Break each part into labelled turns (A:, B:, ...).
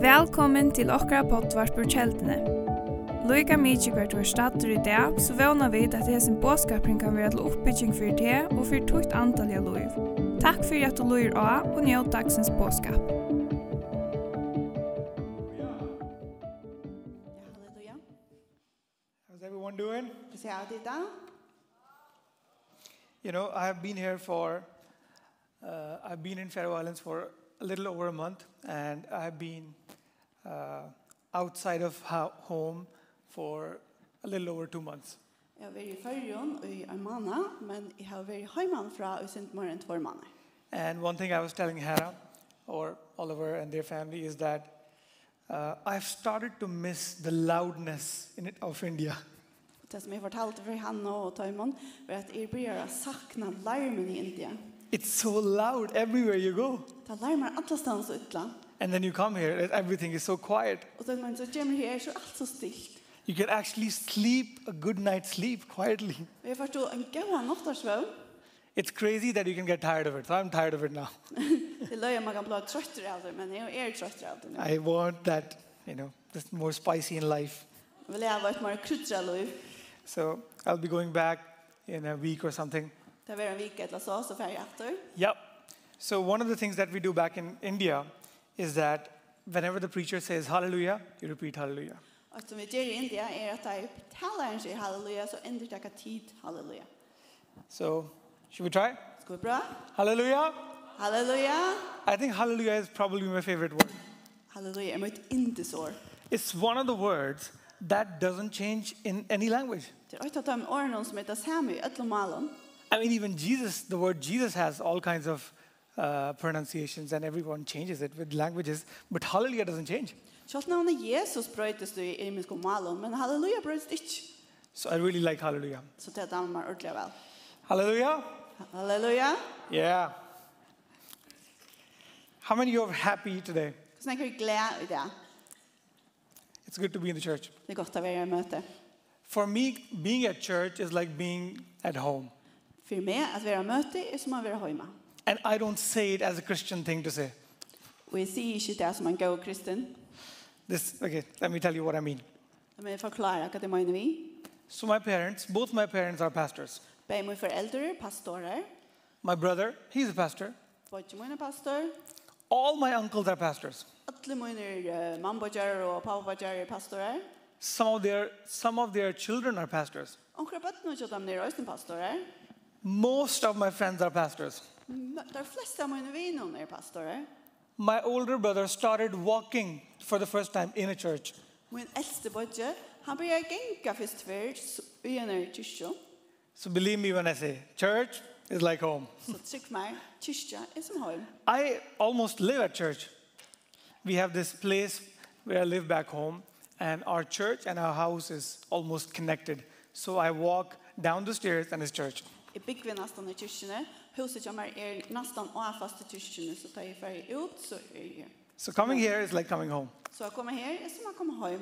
A: Velkommen til okkara poddvarp ur kjeldene. Loika mykje hvert du er stater i dag, så vana vi at hesen båskapring kan være til oppbygging for det og for tukt antalliga loiv. Takk fyrir at du loir av og njød dagsens båskap.
B: Ja, halleluja.
C: How's everyone doing?
B: Hur ser allt ut då?
C: You know, I have been here for, uh, I've been in Faroe Islands for a little over a month, and I've been uh, outside of ho- home for a little over two months.
B: Jag har varit i förrjön i en månad, men jag har varit hemma från i sent morgon två månader.
C: And one thing I was telling Hannah or Oliver and their family is that uh, I've started to miss the loudness in it of India.
B: Och Det som jag fortalte för Hanna och Taimon var att jag börjar sakna larmen i Indien.
C: It's so loud everywhere you go.
B: Det larmar alla stans utla.
C: And then you come here, and everything is so quiet.
B: Och sen man så kommer här så är er allt så stilt.
C: You can actually sleep a good night's sleep quietly.
B: Och jag förstod en gåa nattarsvå.
C: It's crazy that you can get tired of it. So I'm tired of it now.
B: Det löjer man kan bli tröttare av det, men jag är tröttare er av det nu.
C: I want that, you know, just more spicy in life.
B: Jag vill leva ett mer kryddra liv.
C: So I'll be going back in a week or something.
B: Det var en vecka eller så, så får jag efter.
C: Yep. So one of the things that we do back in India is that whenever the preacher says hallelujah, you repeat hallelujah.
B: Och som vi gör i India är att jag talar en sig halleluja så ändrar jag tid halleluja.
C: So should we try?
B: Ska vi bra?
C: Hallelujah?
B: Halleluja!
C: I think hallelujah is probably my favorite word.
B: Halleluja är mitt indesår.
C: It's one of the words that doesn't change in any language.
B: Det är ett av de åren som heter Samu i ett malen.
C: I mean, even Jesus, the word Jesus has all kinds of uh, pronunciations and everyone changes it with languages, but hallelujah doesn't change.
B: Kjallt navnet Jesus brøytes du i imisk og malen, men halleluja brøytes ikke.
C: So I really like hallelujah.
B: Så det damer man ordentlig vel.
C: Hallelujah?
B: Halleluja!
C: Yeah. How many of you are happy today?
B: Hvordan er jeg glad i det?
C: It's good to be in the church.
B: Det er godt å være i møte.
C: For me, being at church is like being at home.
B: For meg, at være i møte er som å være hjemme.
C: And I don't say it as a Christian thing to say.
B: Og jeg sier ikke det som en god kristen,
C: This, okay, let me tell you what I mean.
B: men jeg forklarer hva det mener vi.
C: So, my parents, both my parents are pastors.
B: Begge mine foreldre, er pastorer,
C: My brother, he's a pastor.
B: Bodje mine pastor.
C: All my uncles are pastors.
B: Alle mine uh, mambodjer og pappabodjer er pastorer.
C: Some of their some of their children are pastors.
B: Onkra bøttene og kjøttem er også pastorer.
C: Most of my friends are pastors.
B: De fleste av mine viner er pastorer.
C: My older brother started walking for the first time in a church.
B: Min eldste bodje, han begynte å genka først før s- i en kyrkje.
C: So believe me when I say church is like home.
B: Så trykk meg, kyrkje er som høy.
C: I almost live at church. We have this place where I live back home and our church and our house is almost connected. So I walk down the stairs and it's church.
B: Jeg bygger nesten i kyrkjene. Huset kommer er nesten avfast i kyrkjene, så tar jeg ferdig ut, så er jeg her.
C: So coming here is like coming home.
B: Så jeg kommer her, er som jeg kommer høy.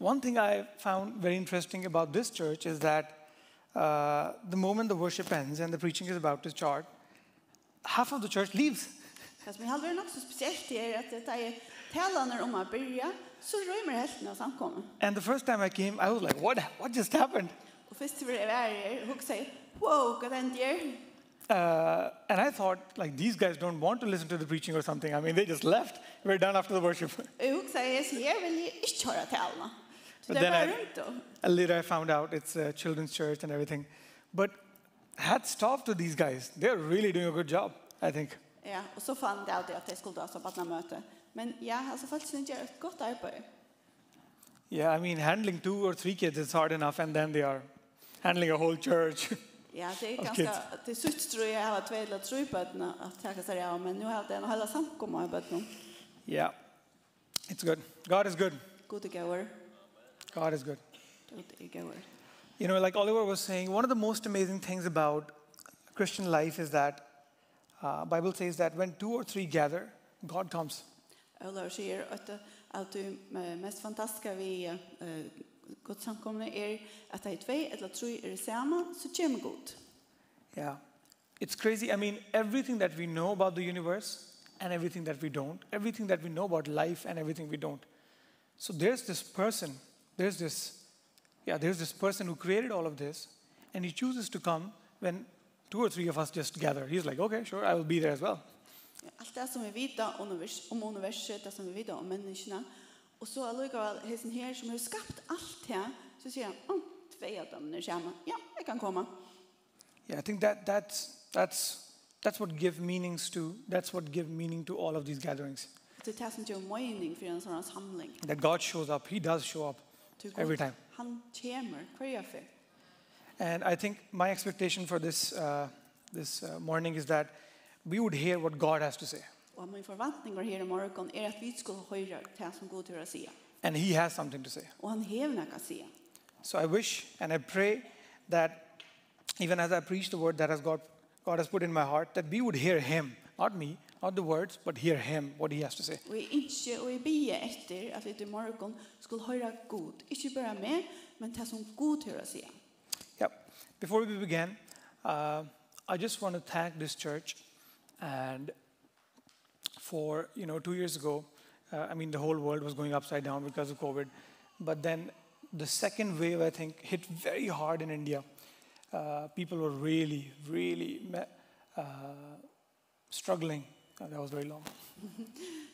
C: One thing I found very interesting about this church is that uh, the moment the worship ends and the preaching is about to start, half of the church leaves.
B: Det som jeg hadde vært nok så spesielt er at det er talene om å begynne, så røymer helten av samkommet.
C: And the first time I came, I was like, what, what just happened?
B: Og først vil jeg være her, og hun sier, wow, hva den gjør?
C: Uh, and I thought, like, these guys don't want to listen to the preaching or something. I mean, they just left. We're done after the worship.
B: Og hun sier, så jeg vil jeg ikke høre talene. Så
C: But
B: det er
C: then
B: bare
C: I-
B: rundt da.
C: and later I found out it's a children's church and everything. But hats off to these guys. They're really doing a good job, I think.
B: Ja, og så fann jeg alltid at jeg skulle ha sabbatna møte. Men ja, altså faktisk hun gjør er et godt arbeid.
C: Yeah, I mean, handling two or three kids is hard enough, and then they are handling a whole church.
B: Ja, det er
C: Og
B: ganske,
C: kids.
B: det er sutt tror jeg har vært veldig tro på at jeg takker seg av, men nå har jeg en hele samkommet i bøtten.
C: yeah, it's good. God is good.
B: Gode gaver,
C: God is good.
B: gode gaver.
C: You know, like Oliver was saying, one of the most amazing things about Christian life is that uh, Bible says that when two or three gather, God comes.
B: Olav sier at, at det mest fantastiske vi uh, godt samkomne er at det er tvei eller tre er det samme, så kommer Gud.
C: Yeah, it's crazy. I mean, everything that we know about the universe and everything that we don't, everything that we know about life and everything we don't. So there's this person, there's this, yeah, there's this person who created all of this, and he chooses to come when two or three of us just gather. He's like, okay, sure, I will be there as well.
B: Allt det som vi vita univers, om universet, det som vi vita om människorna. Och så allikevel, hesen her som har skapt allt det, så sier han, oh, tvei av dem er sammen. Ja, jeg kan komme.
C: Yeah, I think that that's that's that's what give meanings to that's what give meaning to all of these gatherings.
B: Det er det som gjør mening for en sånn samling.
C: That God shows up, He does show up.
B: Til Gud,
C: Every time.
B: Han kommer hver for.
C: And I think my expectation for this uh, this uh, morning is that we would hear what God has to say,
B: Og min forventning var her i morgen er at vi skulle høre det som Gud hører sier.
C: and He has something to say.
B: Og han hever noe sier.
C: So I wish and I pray that even as I preach the word that has God God has put in my heart, that we would hear Him, not me, not the words, but hear Him, what He has to say.
B: Og jeg ikke, og jeg bier etter at vi til morgen skulle høre Gud. Ikke bare meg, men det som Gud hører sier.
C: Yeah. Before we begin, uh, I just want to thank this church and for, you know, two years ago, uh, I mean, the whole world was going upside down because of COVID. But then the second wave, I think, hit very hard in India. Uh, people were really, really me- uh, struggling. Uh, that was very long.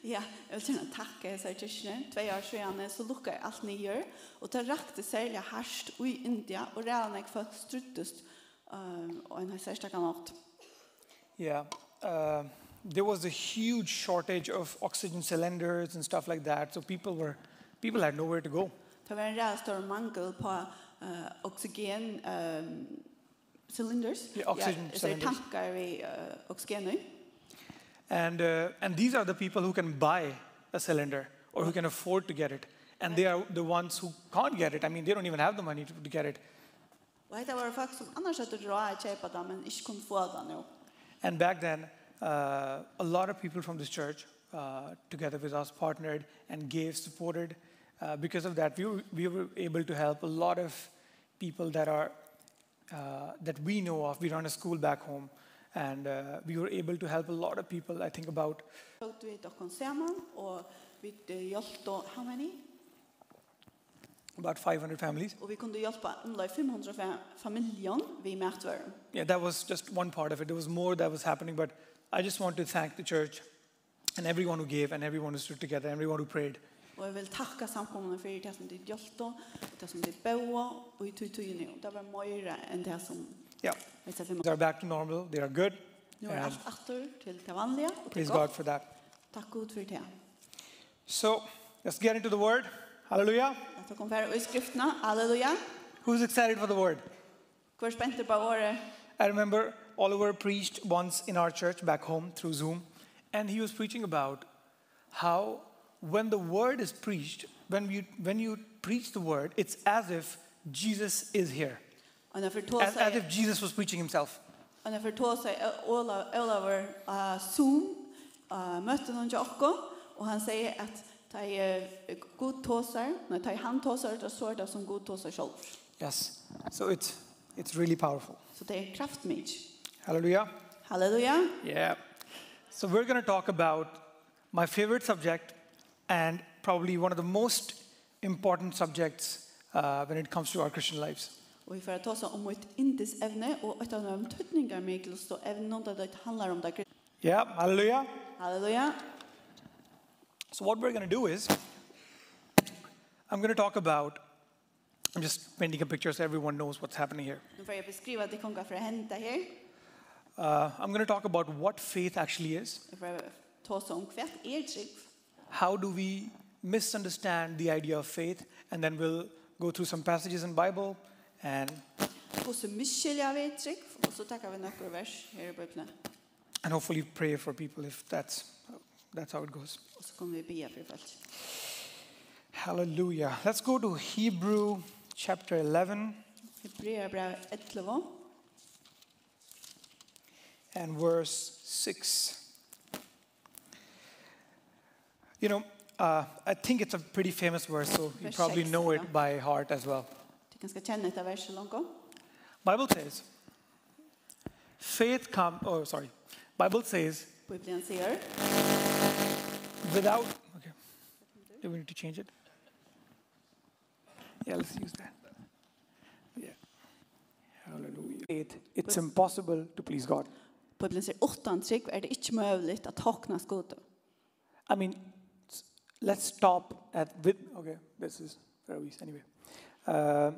B: Ja, jeg vil gjerne takke seg kyrkene. Tve år siden så lukket jeg alt nye, og det rakte særlig herst i India, og redan jeg fikk struttest um, og en har særlig nått.
C: Yeah. Uh, there was a huge shortage of oxygen cylinders and stuff like that. So people were, people had nowhere to go.
B: Det var en redan stor mangel på uh, oksygen um, cylinders.
C: Ja, oxygen
B: Ja, så er
C: cylinders.
B: tanker i uh, oksygen i.
C: And, uh, and these are the people who can buy a cylinder or who can afford to get it. And they are the ones who can't get it. I mean, they don't even have the money to, to get it.
B: Og dette var folk som annars hadde råd å kjøpe det, men ikke kunne få det nå.
C: And back then, uh, a lot of people from this church, uh, together with us, partnered and gave, supported. Uh, because of that, we were, we were able to help a lot of people that are uh, that we know of. We run a school back home, and uh, we were able to help a lot of people. I think about
B: tok vi dere sammen, og vi eh, hjalp da, how many?
C: about 500 families.
B: Og vi kunne hjelpe omlag 500 fa- familier vi møtvarer.
C: Yeah, that was just one part of it. There was more that was happening, but I just want to thank the church and everyone who gave and everyone who stood together, everyone who prayed.
B: Og jeg vil takke samkommende for det som de hjalp da, og det som de bøde, og i tog togene. Og det var mer enn det som
C: Yeah,
B: vi ser for
C: things are back to normal. They are good.
B: Nå er alt atter til det vanlige, og til
C: Praise God
B: godt.
C: for that.
B: Takk Gud for det.
C: So let's get into the word. Hallelujah.
B: At dere kommer i skriftene, halleluja.
C: Who's excited for the word?
B: Hvor spent er på året?
C: I remember Oliver preached once in our church back home through Zoom, and he was preaching about how when the word is preached, when you, when you preach the word, it's as if Jesus is here,
B: Og når jeg
C: as, as
B: fortår
C: if Jesus was preaching himself.
B: Og når jeg tog seg Olaver uh, Zoom, uh, møtte noen til dere, og han sier at de uh, god tog seg, når de han tog seg, det står det som god tog seg selv.
C: Yes. So it's, it's really powerful.
B: Så det er kraftmidj.
C: Hallelujah.
B: Halleluja.
C: Yeah. So we're going to talk about my favorite subject and probably one of the most important subjects uh, when it comes to our Christian lives.
B: Og vi får ta seg om et indes evne, og et av de tøtninger med til å stå evne, da det handler om det.
C: Yeah. Hallelujah.
B: um Halleluja.
C: So what we're going to do is I'm going to talk about I'm just painting a picture so everyone knows what's happening here.
B: Nå får jeg beskrive at det kommer fra hente her.
C: Uh, I'm going to talk about what faith actually is.
B: Jeg får ta seg om hvert er trygg.
C: how do we misunderstand the idea of faith and then we'll go through some passages in bible and
B: Hvordan miskjeljer vi trygg, og så takker vi noen vers her i bøkene.
C: and hopefully pray for people if that's that's how it goes
B: Og så kommer vi bia for folk.
C: hallelujah let's go to hebrew chapter 11
B: Hebreerbrev 11
C: and verse 6 you know uh, i think it's a pretty famous verse so you
B: Verse
C: probably
B: six,
C: know
B: yeah.
C: it by heart as well
B: Du kan skal kjenne etter verset langt om.
C: bible says faith come oh sorry bible says
B: Bibelen sier
D: without, okay. Do we need to change it? Yeah, let's use that. Yeah. Hallelujah.
C: faith, it's impossible to please God.
B: Bibelen sier utan trygg er det ikke mulig at håkna skode.
C: I mean, s- let's stop at with. Okay, this is where we anyway. Um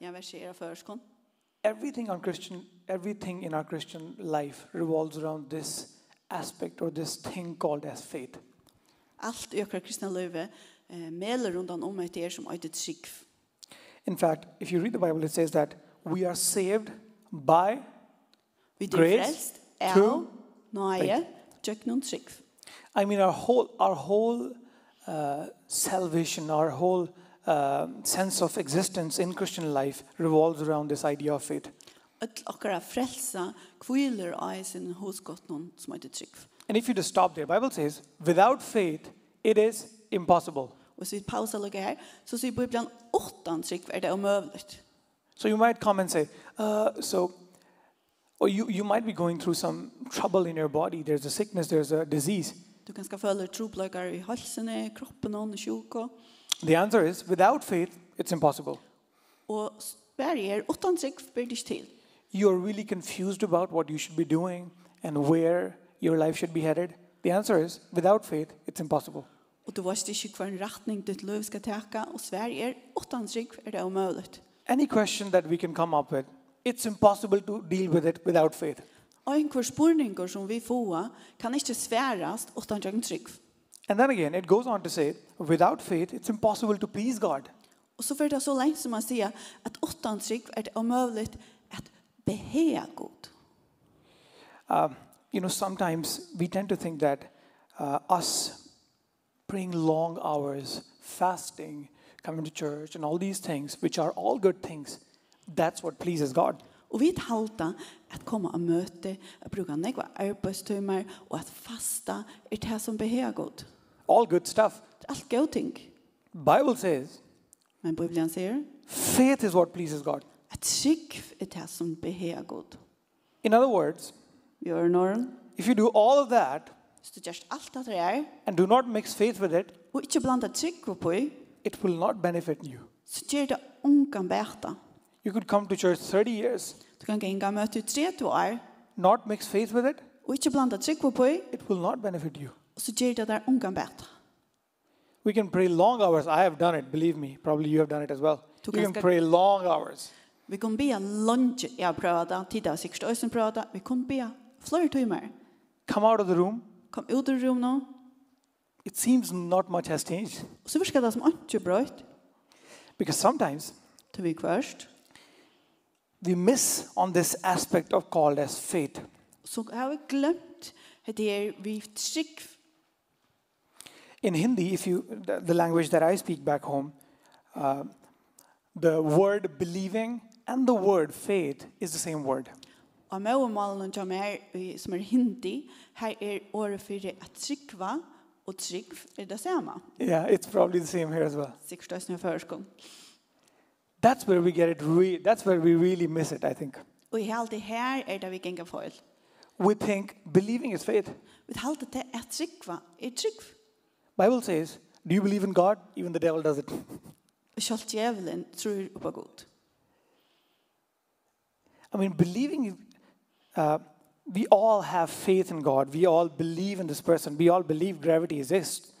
B: Ja, vers er av førskånd.
C: everything on Christian, everything in our Christian life revolves around this aspect or this thing called as faith.
B: Alt i økra kristna løyve eh, meler rundan om et er som øyde trygg.
C: In fact, if you read the Bible, it says that we are saved by,
B: Vi er
C: Grace
B: frelst av
C: through
B: nøye, tjøk noen trygg.
C: I mean, our whole our whole uh, salvation, our whole um sense of existence in Christian life revolves around this idea of faith.
B: Öll okkara frelsa kviler av sin hosgott noen som øyde trygg.
C: And if you just stop there, Bible says, without faith, it is impossible.
B: Og hvis vi pausa lukka her, så sier Bibelen utan trygg er det omøvligt.
C: So you might come and say, uh, so, or you, you might be going through some trouble in your body. There's a sickness, there's a disease.
B: Du kan ska føle trobløkar i halsene, kroppen noen, i sjuka.
C: The answer is, without faith, it's impossible.
B: Og Sverige er utan trygg blir det ikke til.
C: You're really confused about what you should be doing and where your life should be headed. The answer is, without faith, it's impossible.
B: Og du vet ikke hva en retning ditt liv skal teka, og Sverige er utan trygg er det omøvligt.
C: Any question that we can come up with, it's impossible to deal with it without faith.
B: Og en spurningar som vi får kan ikke sværast utan trygg trygg.
C: And then again, it goes on to say, without faith, it's impossible to please God.
B: Og så fyrir det så lenge som man sier at utan trygg er det omøvligt at behea god.
C: Um, you know, sometimes we tend to think that uh, us praying long hours, fasting, coming to church, and all these things, which are all good things, that's what pleases God.
B: Og vi halta at komme og møte, at bruka nekva arbeidstøymer, og at fasta er det som behea god.
C: All good stuff.
B: Det er alt god ting.
C: Bible says
B: Men Bibelen sier
C: faith is what pleases God.
B: at trygg er det som behea god.
C: In other words,
B: Vi gjør norm.
C: if you do all of that
B: Hvis du gjørst alt det det er,
C: and do not mix faith with it,
B: og ikke blanda trygg på i,
C: it will not benefit you.
B: så gjør det ungan bæta.
C: You could come to church 30 years,
B: Du kan genga møte i tre to år,
C: not mix faith with it,
B: er, og ikke blanda trygg på i,
C: it will not benefit you.
B: og så gjør det der ungan bæta.
C: We can pray long hours. I have done it, believe me. Probably you have done it as well.
B: Du
C: You can
B: ganska-
C: pray long hours.
B: Vi kan be lunge, jeg har prøvd det, tidligere har sikkert også prøvd det, vi kan be flere timer.
C: Come out of the room.
B: Kom ut ur rom nå,
C: It seems not much has changed
B: og så virker det som ikke brøyt,
C: because sometimes
B: til vi kvørst.
C: we miss on this aspect of called as faith.
B: Så har vi glemt at det er vi trygg,
C: In Hindi, if you the, the language that I speak back home, uh, the word believing and the word faith is the same word.
B: og med og malen som er, som er hindi, her er året for at tryggva, og trygg er det samme.
C: Yeah, it's probably the same here as well.
B: Sikkert også når førskånd.
C: That's where we get it. Re- that's where we really miss it. I think
B: Og i alt det her er det vi ganger feil.
C: we think believing is faith.
B: Vi halte det at tryggva er trygg.
C: Bible says, "Do you believe in God? Even the devil does it."
B: Og kjølt djevelen tror på god.
C: I mean, believing. is- Uh, we all have faith in God. We all believe in this person. We all believe gravity exists.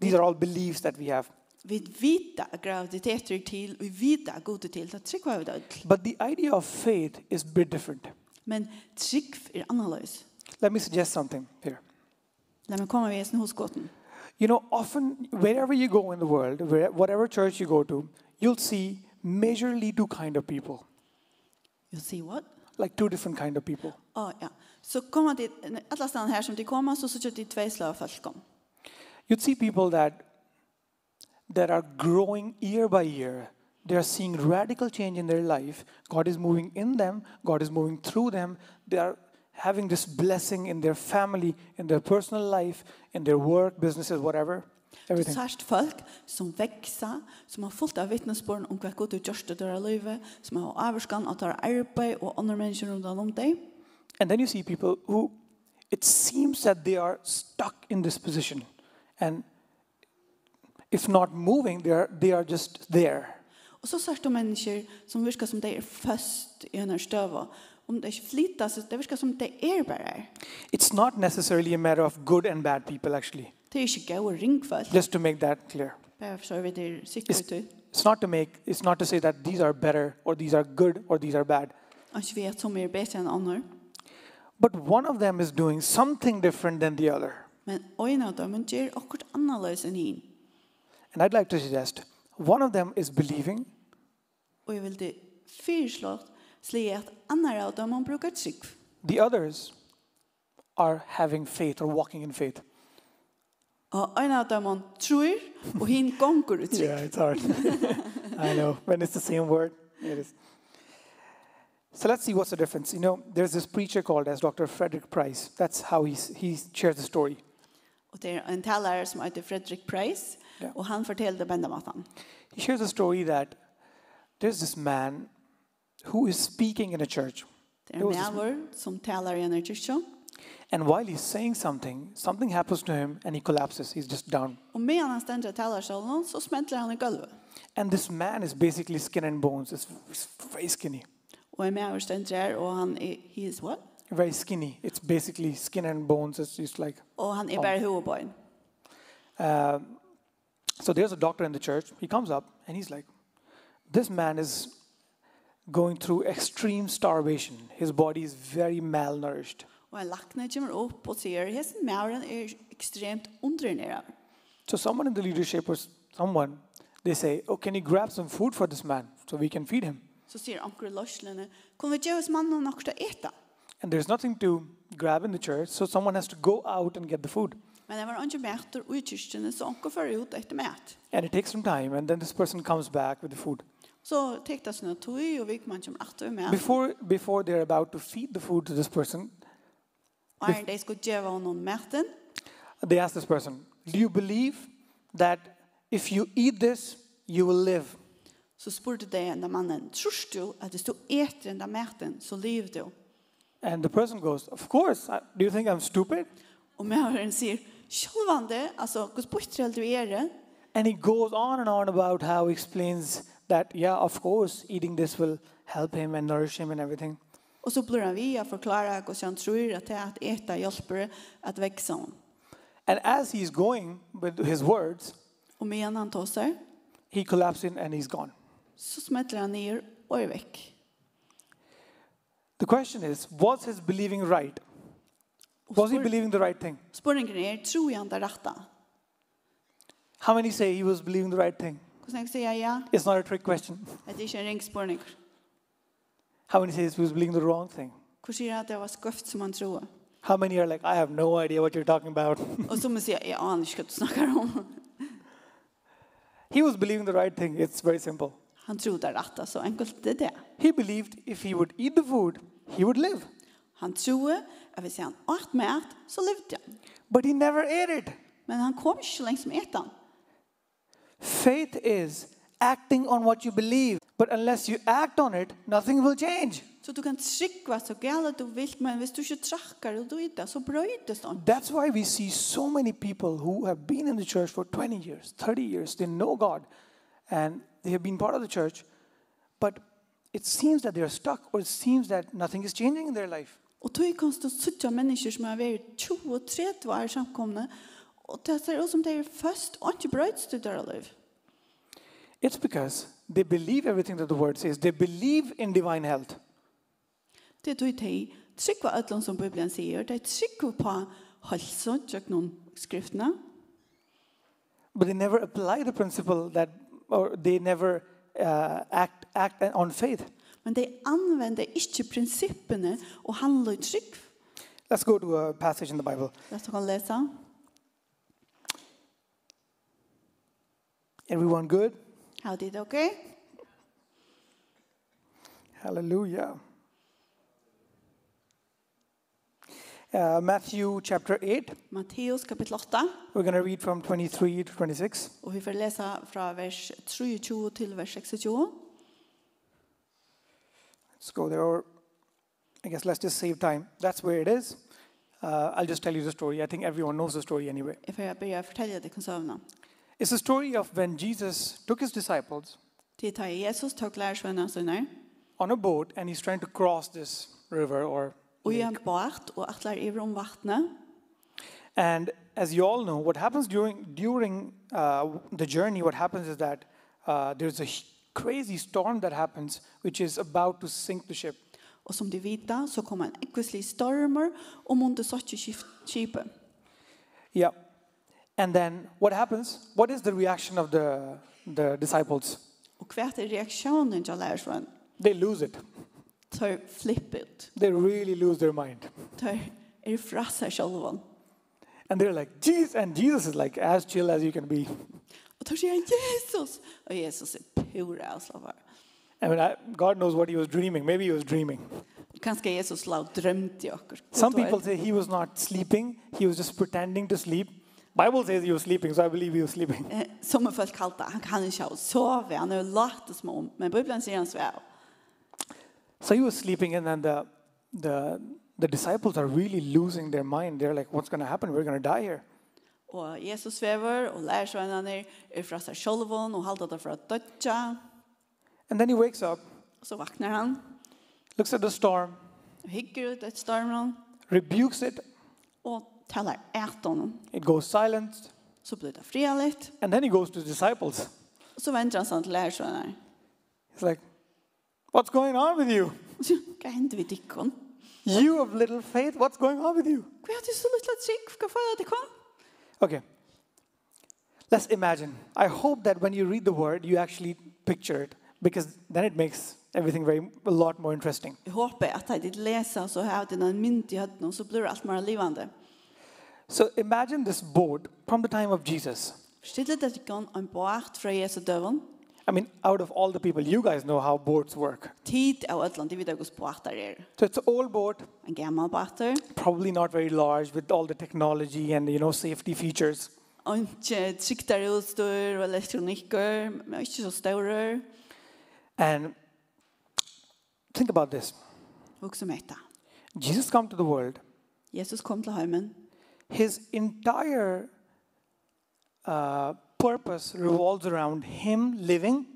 C: These are all beliefs that we have.
B: Vi vita at graviditeter er til, vi vita at god er til, det tryggva er vi død.
C: But the idea of faith is a bit different.
B: Men trygg er annerledes.
C: Let me suggest something here.
B: La meg komme ved sin hosgåten.
C: You know, often wherever you go in the world, where, whatever church you go to, you'll see majorly two kind of people,
B: You see what?
C: like two different kind of people.
B: Å, ja. Så kommer de, alle stedene her som de kommer, så sitter de tve slag av folk om.
C: You'd see people that that are growing year by year. They are seeing radical change in their life. God is moving in them. God is moving through them. They are having this blessing in their family, in their personal life, in their work, businesses, whatever,
B: Du
C: everything.
B: sørst folk som vekser, som har fullt av vittnesbörn om hva god du gjørst i deres liv, som har avskan at det er arbeid og andre mennesker rundt om deg.
C: And then you see people who it seems that they are stuck in this position and if not moving, they are, they are just there.
B: Og så sørste mennesker som virker som de er først i denne støva. Om det ikke flyter, så det virker som de er bare her.
C: It's not necessarily a matter of good and bad people, actually,
B: Det er ikke gode ringfølg.
C: just to make that clear.
B: Bare for så vidt det er sikkert
C: It's,
B: ut.
C: it's not to make it's not to say that these are better or these are good or these are bad
B: Og ikke vet som er bedre enn andre.
C: but one of them is doing something different than the other
B: Men øynene av dem gjør akkurat annerledes enn hin.
C: and i'd like to suggest one of them is believing
B: Og jeg vil det fyrslått slik at andre av dem bruker trygg.
C: the others are having faith or walking in faith
B: Og øynene av dem tror, og hin gonger ut trygg.
C: it's hard i know when it's the same word it is so let's see what's the difference you know there's this preacher called as dr frederick price that's how he s- he shares the story
B: Og det er en talare som heter Fredrik Price,
C: Ja.
B: og han forteller det på denne måten.
C: he shares a story that there's this man who is speaking in a church.
B: Det er
C: It
B: en
C: was this-
B: maver som taler i en kyrkje.
C: And while he's saying something, something happens to him and he collapses. He's just down.
B: Og medan han stender i talersalen, så smentler han i gulvet.
C: And this man is basically skin and bones. It's it's very skinny.
B: Og en maver stender her, og han er, he is what?
C: Very skinny. It's basically skin and bones. It's just like.
B: Og han er
C: Oh.
B: bare hovedbøyen.
C: Um, so there's a doctor in the church. He comes up and he's like, This man is going through extreme starvation. His body is very malnourished.
B: Og en lakne kommer opp og sier, hesten maveren er ekstremt undernærer.
C: So someone in the leadership or s- someone, they say, oh, can you grab some food for this man so we can feed him?
B: Så sier anker løslene, kan vi gjøre oss mannen nok til å ete?
C: And there's nothing to grab in the church, so someone has to go out and get the food.
B: Men det var ikke mæter og i kyrkjene, så anker fører ut etter mæt.
C: And it takes some time, and then this person comes back with the food.
B: Så tekte jeg sånn tog, og vi kommer ikke etter mæt.
C: Before, before they're about to feed the food to this person,
B: Og er de skulle gjøre noen mæten,
C: they ask this person, Do you believe that if you eat this, you will live?
B: så spurte de enda mannen, tror du at hvis du eter enda mæten, så lever du?
C: And the person goes, Of course. I, do you think I'm stupid?
B: Og mæveren sier, sjølvande, altså, hvordan bortre du er det?
C: And he goes on and on about how he explains that, yeah, of course, eating this will help him and nourish him and everything.
B: Og så blir han via forklare hvordan han tror at det er at eta hjelper at vekse om.
C: And as he's going with his words,
B: Og medan han tåser,
C: he collapses in and he's gone.
B: så smetter han ned og er vekk.
C: The question is, was his believing right? Was he believing the right thing?
B: Spørningen er, tror jeg han det rette?
C: How many say he was believing the right thing?
B: Hvordan jeg sier ja?
C: It's not a trick question.
B: At det ikke er en ring spørning.
C: How many say he was believing the wrong thing?
B: Hvordan sier han at det var skøft som han tror?
C: How many are like, I have no idea what you're talking about?
B: Og så må jeg si, jeg aner ikke hva du snakker om.
C: he was believing the right thing. It's very simple.
B: Han tror det rette, så enkelt det er det.
C: He believed if he would eat the food, he would live.
B: Han tror at hvis han åt mat, så levde han.
C: But he never ate it.
B: Men han kom ikke så lenge som et han.
C: Faith is acting on what you believe, but unless you act on it, nothing will change.
B: Så du kan trykva så gale du vil, men hvis du ikke trakker og du ikke, så brøydes han.
C: That's why we see so many people who have been in the church for 20 years, 30 years, they know God, and they have been part of the church, but it seems that they are stuck, or it seems that nothing is changing in their life.
B: Og tog kan stå suttja mennesker som har vært 20-30 år samkomne, og det ser ut som det er først og ikke brøydes du der liv.
C: It's because they believe everything that the word says, they believe in divine health.
B: Det er tog de trykva ødlån som Bibelen sier, de trykva på halsen, tjøk noen skriftene,
C: but they never apply the principle that or they never uh, act act on faith
B: men de anvender ikke prinsippene og handler i trykv.
C: let's go to a passage in the bible
B: La oss kan lese.
C: everyone good
B: How did it okay?
C: hallelujah uh, matthew chapter 8
B: Matteus kapitel 8,
C: we're going to read from 23 to 26
B: og vi får lese fra vers 23 til vers 26.
C: let's go there or i guess let's just save time that's where it is Uh, I'll just tell you the story. I think everyone knows the story anyway.
B: Jeg får börja fortälja det konsövna.
C: It's a story of when Jesus took his disciples
B: Det tar Jesus tog lärsvännerna sina
C: on a boat and he's trying to cross this river or
B: och i en båt och attlar över om vattnet.
C: and as you all know what happens during during uh, the journey what happens is that uh, there's a h- crazy storm that happens which is about to sink the ship
B: Och som de vita så kom en äckoslig stormer och munde såtte kipet.
C: yeah and then what happens what is the reaction of the the disciples
B: Och kvärt är reaktionen till lärsvän.
C: they lose it
B: Tar flippet.
C: they really lose their mind
B: Tar är frassa självan.
C: and they're like jesus and jesus is like as chill as you can be
B: Och tar sig Jesus. Och Jesus er är pura avslavar.
C: i mean I, god knows what he was dreaming maybe he was dreaming
B: Kanske Jesus la drömt i okkar.
C: Some people say he was not sleeping, he was just pretending to sleep. Bible says he was sleeping, so I believe he was sleeping.
B: Eh, som folk kallt det. Han kan inte ha sove. Han är lagt som om. Men Bibeln säger han svär.
C: So he was sleeping and then the the the disciples are really losing their mind. They're like, what's going to happen? We're going to die here.
B: Og Jesus svever, og lærersvennerne er fra seg sjolvån, og halter det fra dødja.
C: And then he wakes up,
B: Og så vakner han,
C: looks at the storm,
B: og hygger ut et stormen,
C: rebukes it,
B: og taler et om
C: it goes silent,
B: Så blir det fria litt,
C: and then he goes to his disciples.
B: og så venter han sånn til lærersvennerne.
C: He's like, what's going on with you?
B: Hva hender vi dikken?
C: You of little faith, what's going on with you?
B: Hva er det så litt trygg? Hva får jeg det kom?
C: Okay. Let's imagine. I hope that when you read the word, you actually picture it because then it makes everything very a lot more interesting.
B: Jeg håper at jeg ditt leser, så har jeg denne mynd i høtten, og så blir det alt mer livende.
C: So imagine this boat from the time of Jesus.
B: Stille det dikken en båt fra Jesu døven,
C: I mean, out of all the people, you guys know how boats work.
B: tid av et land, de vet hvordan båter er.
C: So it's an old boat,
B: En gammel båter,
C: probably not very large with all the technology and you know safety features.
B: og ikke tryktere utstyr og elektronikker, men ikke så er. større.
C: And think about this.
B: Og som etter.
C: Jesus come to the world.
B: Jesus kom til heimen.
C: His entire uh, purpose revolves around him living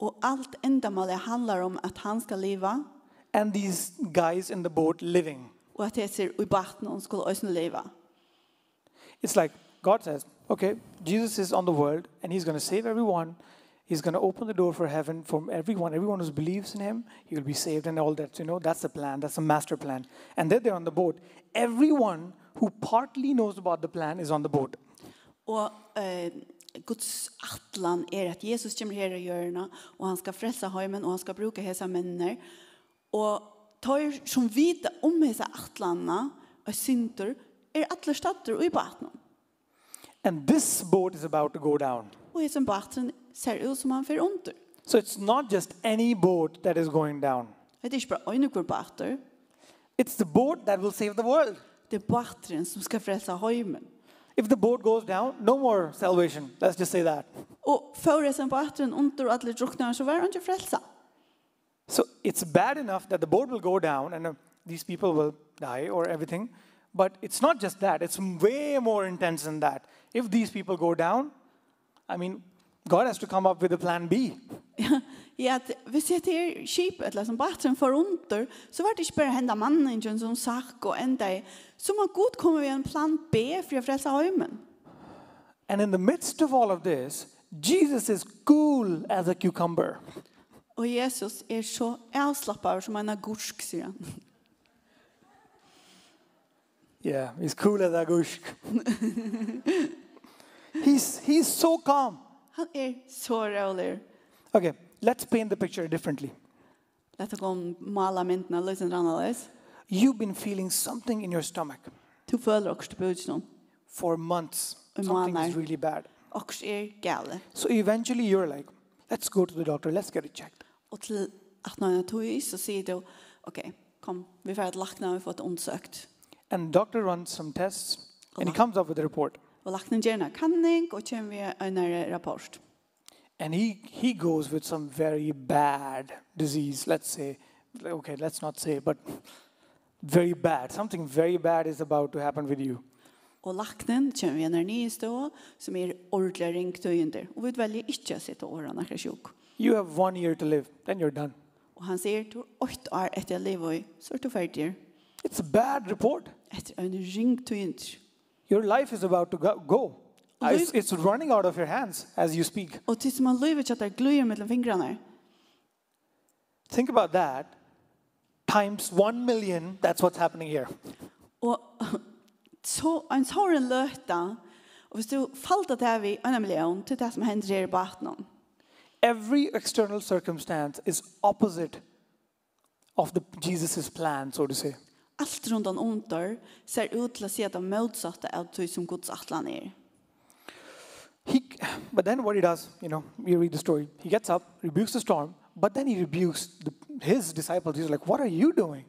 B: Og alt endamålet handler om at han skal leva,
C: and these guys in the boat living.
B: og at jeg ser i baten og skulle også leva.
C: It's like God says, okay, Jesus is on the world and he's going to save everyone. He's going to open the door for heaven for everyone. Everyone who believes in him, he will be saved and all that. You know, that's the plan. That's the master plan. And then they're on the boat. Everyone who partly knows about the plan is on the boat.
B: Og eh, Guds atlan er at Jesus kommer her i hjørnet, og han skal frelse heimen, og han skal bruke hese mennene. Og tar som vite om hese atlanene og synder, er alle stater i baten.
C: And this boat is about to go down.
B: Og hese baten ser ut som han fer under.
C: So it's not just any boat that is going down.
B: Det er ikke bare øyne hvor bater,
C: It's the boat that will save the world.
B: det er bateren som skal frelse heimen.
C: If the boat goes down, no more salvation. Let's just say that.
B: Og før jeg som bateren under og alle drukner, så var han ikke frelsa.
C: So it's bad enough that the boat will go down and uh, these people will die or everything. But it's not just that, it's way more intense than that. If these people go down, I mean, God has to come up with a plan B.
B: Ja, at hvis jeg til skip, eller som bateren for under, så var det ikke bare henda mannen som sak og enda i. Så må Gud komme ved en plan B for å frelse heimen.
C: And in the midst of all of this, Jesus is cool as a cucumber.
B: Og Jesus er så avslappet som en agursk, sier han.
C: Yeah, he's cool as a gushk. he's, he's so calm.
B: Han er så rolig.
C: Okay, let's paint the picture differently.
B: Dette kom mala myndene litt annerledes.
C: You've been feeling something in your stomach
B: Du føler også til budsjen om.
C: for months.
B: Um,
C: Something is
B: Anna.
C: really bad.
B: Også er gale.
C: So eventually you're like, let's go to the doctor, let's get it checked.
B: Og til at når jeg tog i, så sier du, ok, kom, vi er får et lakna, vi får et undersøkt.
C: And doctor runs some tests and he comes up with a report.
B: Og lakna gjerne kanning, og kommer vi en eh, rapport.
C: And he, he goes with some very bad disease, let's say. Okay, let's not say, but very bad. Something very bad is about to happen with you.
B: Og laknen kommer vi ned i stå, som er ordentlig ringtøyender. Og vi velger ikke å sitte årene akkurat sjuk.
C: You have one year to live, then you're done.
B: Og han sier, du har åtte år etter jeg lever i, så er du ferdig.
C: It's a bad report.
B: Etter en ringtøyender.
C: Your life is about to go. go. Uh,
B: Life-
C: It's, it's running out of your hands as you speak.
B: Og til som han lever ikke at det gløyer mellom fingrene.
C: Think about that. Times one million, that's what's happening here.
B: Og så en såren løte. Og hvis du falt at det er vi en million til det som hender her i baten.
C: Every external circumstance is opposite of the Jesus' plan, so to say.
B: Alt rundt han under ser ut til å si at han motsatte av det som Guds atlan er.
C: He, but then what he does, you know, we read the story. He gets up, rebukes the storm, but then he rebukes the, his disciples. He's like, What are you doing?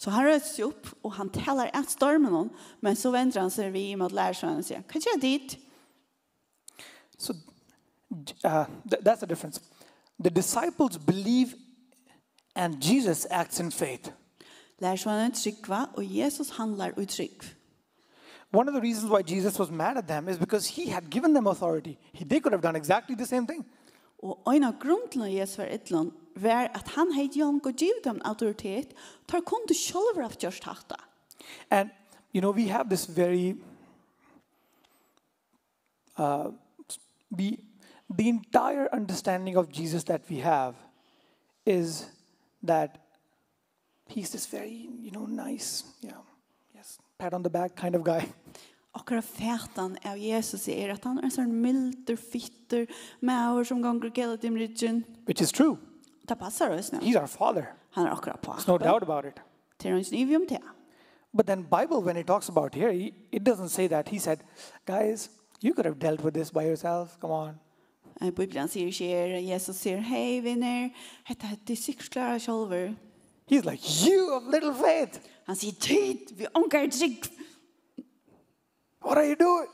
B: Så han røser seg opp, og han taler et stormen om, men så venter han seg vi mot lærersvennen og sier, hva gjør jeg dit?
C: So uh, th- that's the difference. The disciples believe, and Jesus acts in faith.
B: Lærersvennen tryggva, og Jesus handlar og trygg.
C: One of the reasons why Jesus was mad at them is because he had given them authority. He, they could have done exactly the same thing.
B: Og en av grunnen til Jesus var ytland, var at han heit Jan og giv dem autoritet, tar kun du selv av gjørst hatt det.
C: And, you know, we have this very. Uh, we, the entire understanding of Jesus that we have is that he's this very, you know, nice, yeah, yes, pat on the back kind of guy.
B: Akkurat fætan av Jesus er at han er en sånn milder, fitter, maur som ganger gjelder dem rydgen.
C: Which is true.
B: Det passer oss nå.
C: He's our father.
B: Han er akkurat på.
C: There's no doubt about it.
B: Til hans nye om det.
C: But then Bible, when it talks about here, he, it doesn't say that. He said, guys, you could have dealt with this by yourself. Come on.
B: Eh, Bibelen sier ikke er, Jesus sier, hei vinner, hette de sikkert klarer sjolver.
C: He's like, you of little faith.
B: Han sier, tid, vi ånker trygg.
C: What are you doing?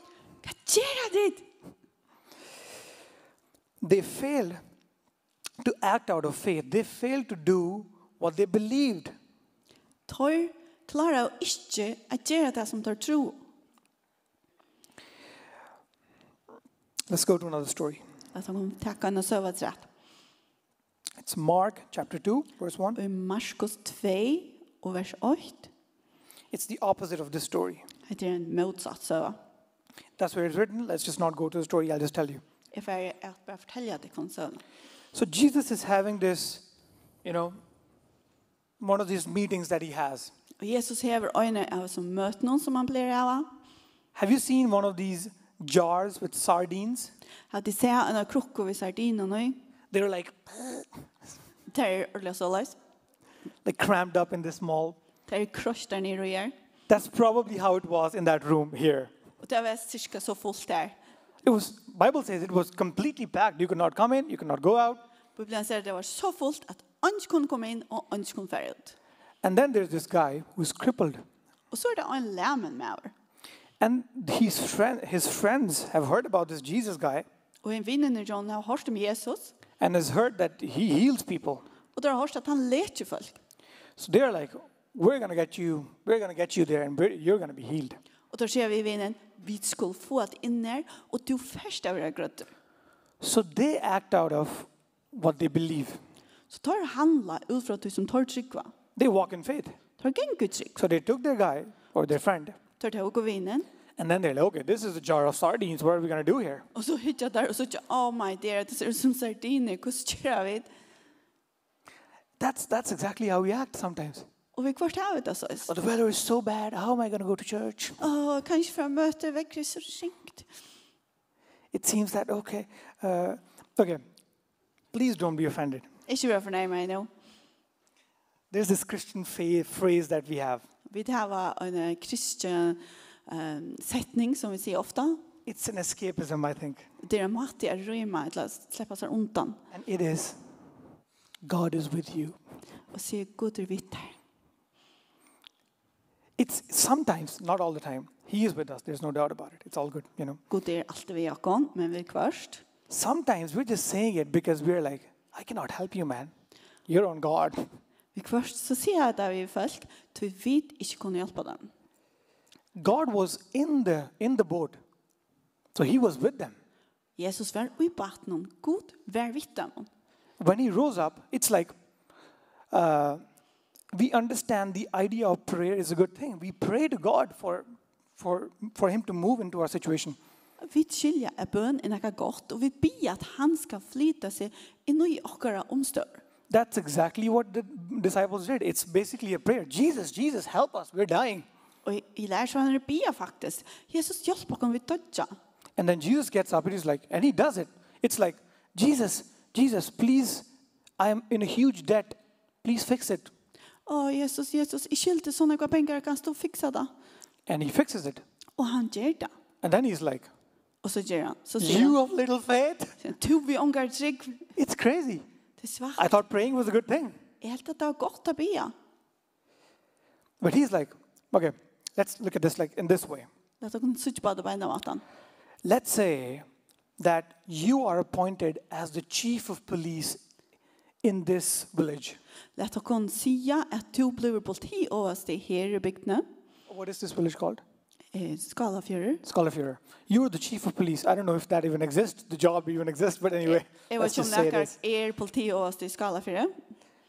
B: Hva gjør jeg dit?
C: They failed to act out of faith. They failed to do what they believed.
B: Tor klarer ikke å gjøre det som tar tro.
C: Let's go to another story.
B: At han kommer takke henne og søve rett.
C: It's Mark chapter 2, verse 1.
B: Og i Marskos 2 og vers 8,
C: It's the opposite of this story.
B: heter en motsatt søve.
C: That's where it's written. Let's just not go to the story. I'll just tell you.
B: Jeg får at bare fortelle deg hva søve.
C: So Jesus is having this, you know, one of these meetings that he has.
B: Og Jesus hever øynene av oss som møter noen som han blir av.
C: Have you seen one of these jars with sardines?
B: At de ser en av krukker ved sardinene.
C: They're like
B: Det er ordentlig så løs.
C: like crammed up in this small.
B: Det er krosj der nere og gjør.
C: That's probably how it was in that room here.
B: Og det var cirka så fullt der.
C: It was Bible says it was completely packed. You could not come in, you could not go out.
B: Bibelen sier det var så fullt at ønsk kunne komme inn og ønsk kunne fære ut.
C: And then there's this guy who's crippled.
B: Og så er det en læmen med over.
C: And his friend his friends have heard about this Jesus guy
B: Og en vinnende John har hørt om Jesus.
C: and has heard that he heals people.
B: Og der har hørt at han leker folk.
C: So they're like, we're going to get you, we're going to get you there and we're- you're going to be healed.
B: Og der sier vi i vinnen, vi skulle få et inn her, og du først av deg grøtter.
C: So they act out of what they believe.
B: Så tar handla ut fra du som tar trykva.
C: They walk in faith.
B: Tar gengur trykk.
C: So they took their guy or their friend,
B: Tar det og vinnen.
C: and then they're like, okay, this is a jar of sardines. What are we going to do here?
B: Og så hittar der, og så ikke, oh my dear, det ser ut som sardiner, hvordan kjører vi?
C: That's, that's exactly how we act sometimes.
B: Og vi kvart av det, så.
C: Oh, the weather is so bad. How am I going to go to church?
B: Åh, kanskje fra møte vekker så ringt.
C: It seems that, okay. Uh, okay, please don't be offended.
B: Ikke bare fornøy meg nå.
C: There's this Christian fa- phrase that we have
B: Vi tar var en eh, kristen um, setning som vi sier ofte.
C: it's an escapism, I think.
B: Det er en måte å røyme til å slippe seg undan.
C: And it is God is with you.
B: Og sier, god er vitt her.
C: It's sometimes, not all the time. He is with us. There's no doubt about it. It's all good, you know.
B: God er alltid vi akon, men vi er kvørst.
C: Sometimes we're just saying it because we're like, I cannot help you, man. You're on God.
B: Vi er kvørst så sier jeg det vi er folk, til vi vet ikke kunne hjelpe dem.
C: God was in the in the boat. So he was with them.
B: Jesus var i baten, god var vidt dem.
C: When he rose up, it's like uh, we understand the idea of prayer is a good thing. We pray to God for for for him to move into our situation.
B: Vi skiljer er bøn er noe godt, og vi ber at han skal flytte seg inn i åkere omstør.
C: That's exactly what the disciples did. It's basically a prayer. Jesus, Jesus, help us. We're dying.
B: Og i- i lærer så han ber faktisk. Jesus hjelp oss vi dødja.
C: And then Jesus gets up. It is like, and he does it. It's like, Jesus, Jesus, please, I am in a huge debt. Please fix it.
B: Å, Jesus, Jesus, jeg skyldte sånne hva penger, kan stå og fikse det.
C: And he fixes it.
B: Og han gjør det.
C: And then he's like,
B: Og så gjør han. Så sier
C: You of little faith.
B: han, to vi omgår trygg.
C: It's crazy.
B: Det er svart.
C: I thought praying was a good thing.
B: Jeg helt at det var godt å be.
C: But he's like, okay, let's look at this like in this way.
B: La dere sitte på det beina av han.
C: Let's say that you are appointed as the chief of police in this village.
B: La dere sige at du blir politi overst i her i bygdene.
C: What is this village called?
B: Eh, Skalafjører.
C: Skolafjord. You're the chief of police. I don't know if that even exists, the job even exists, but anyway,
B: Jeg
C: let's
B: vet ikke
C: just
B: om
C: say it
B: dere
C: is.
B: er politi overst i Skalafjører.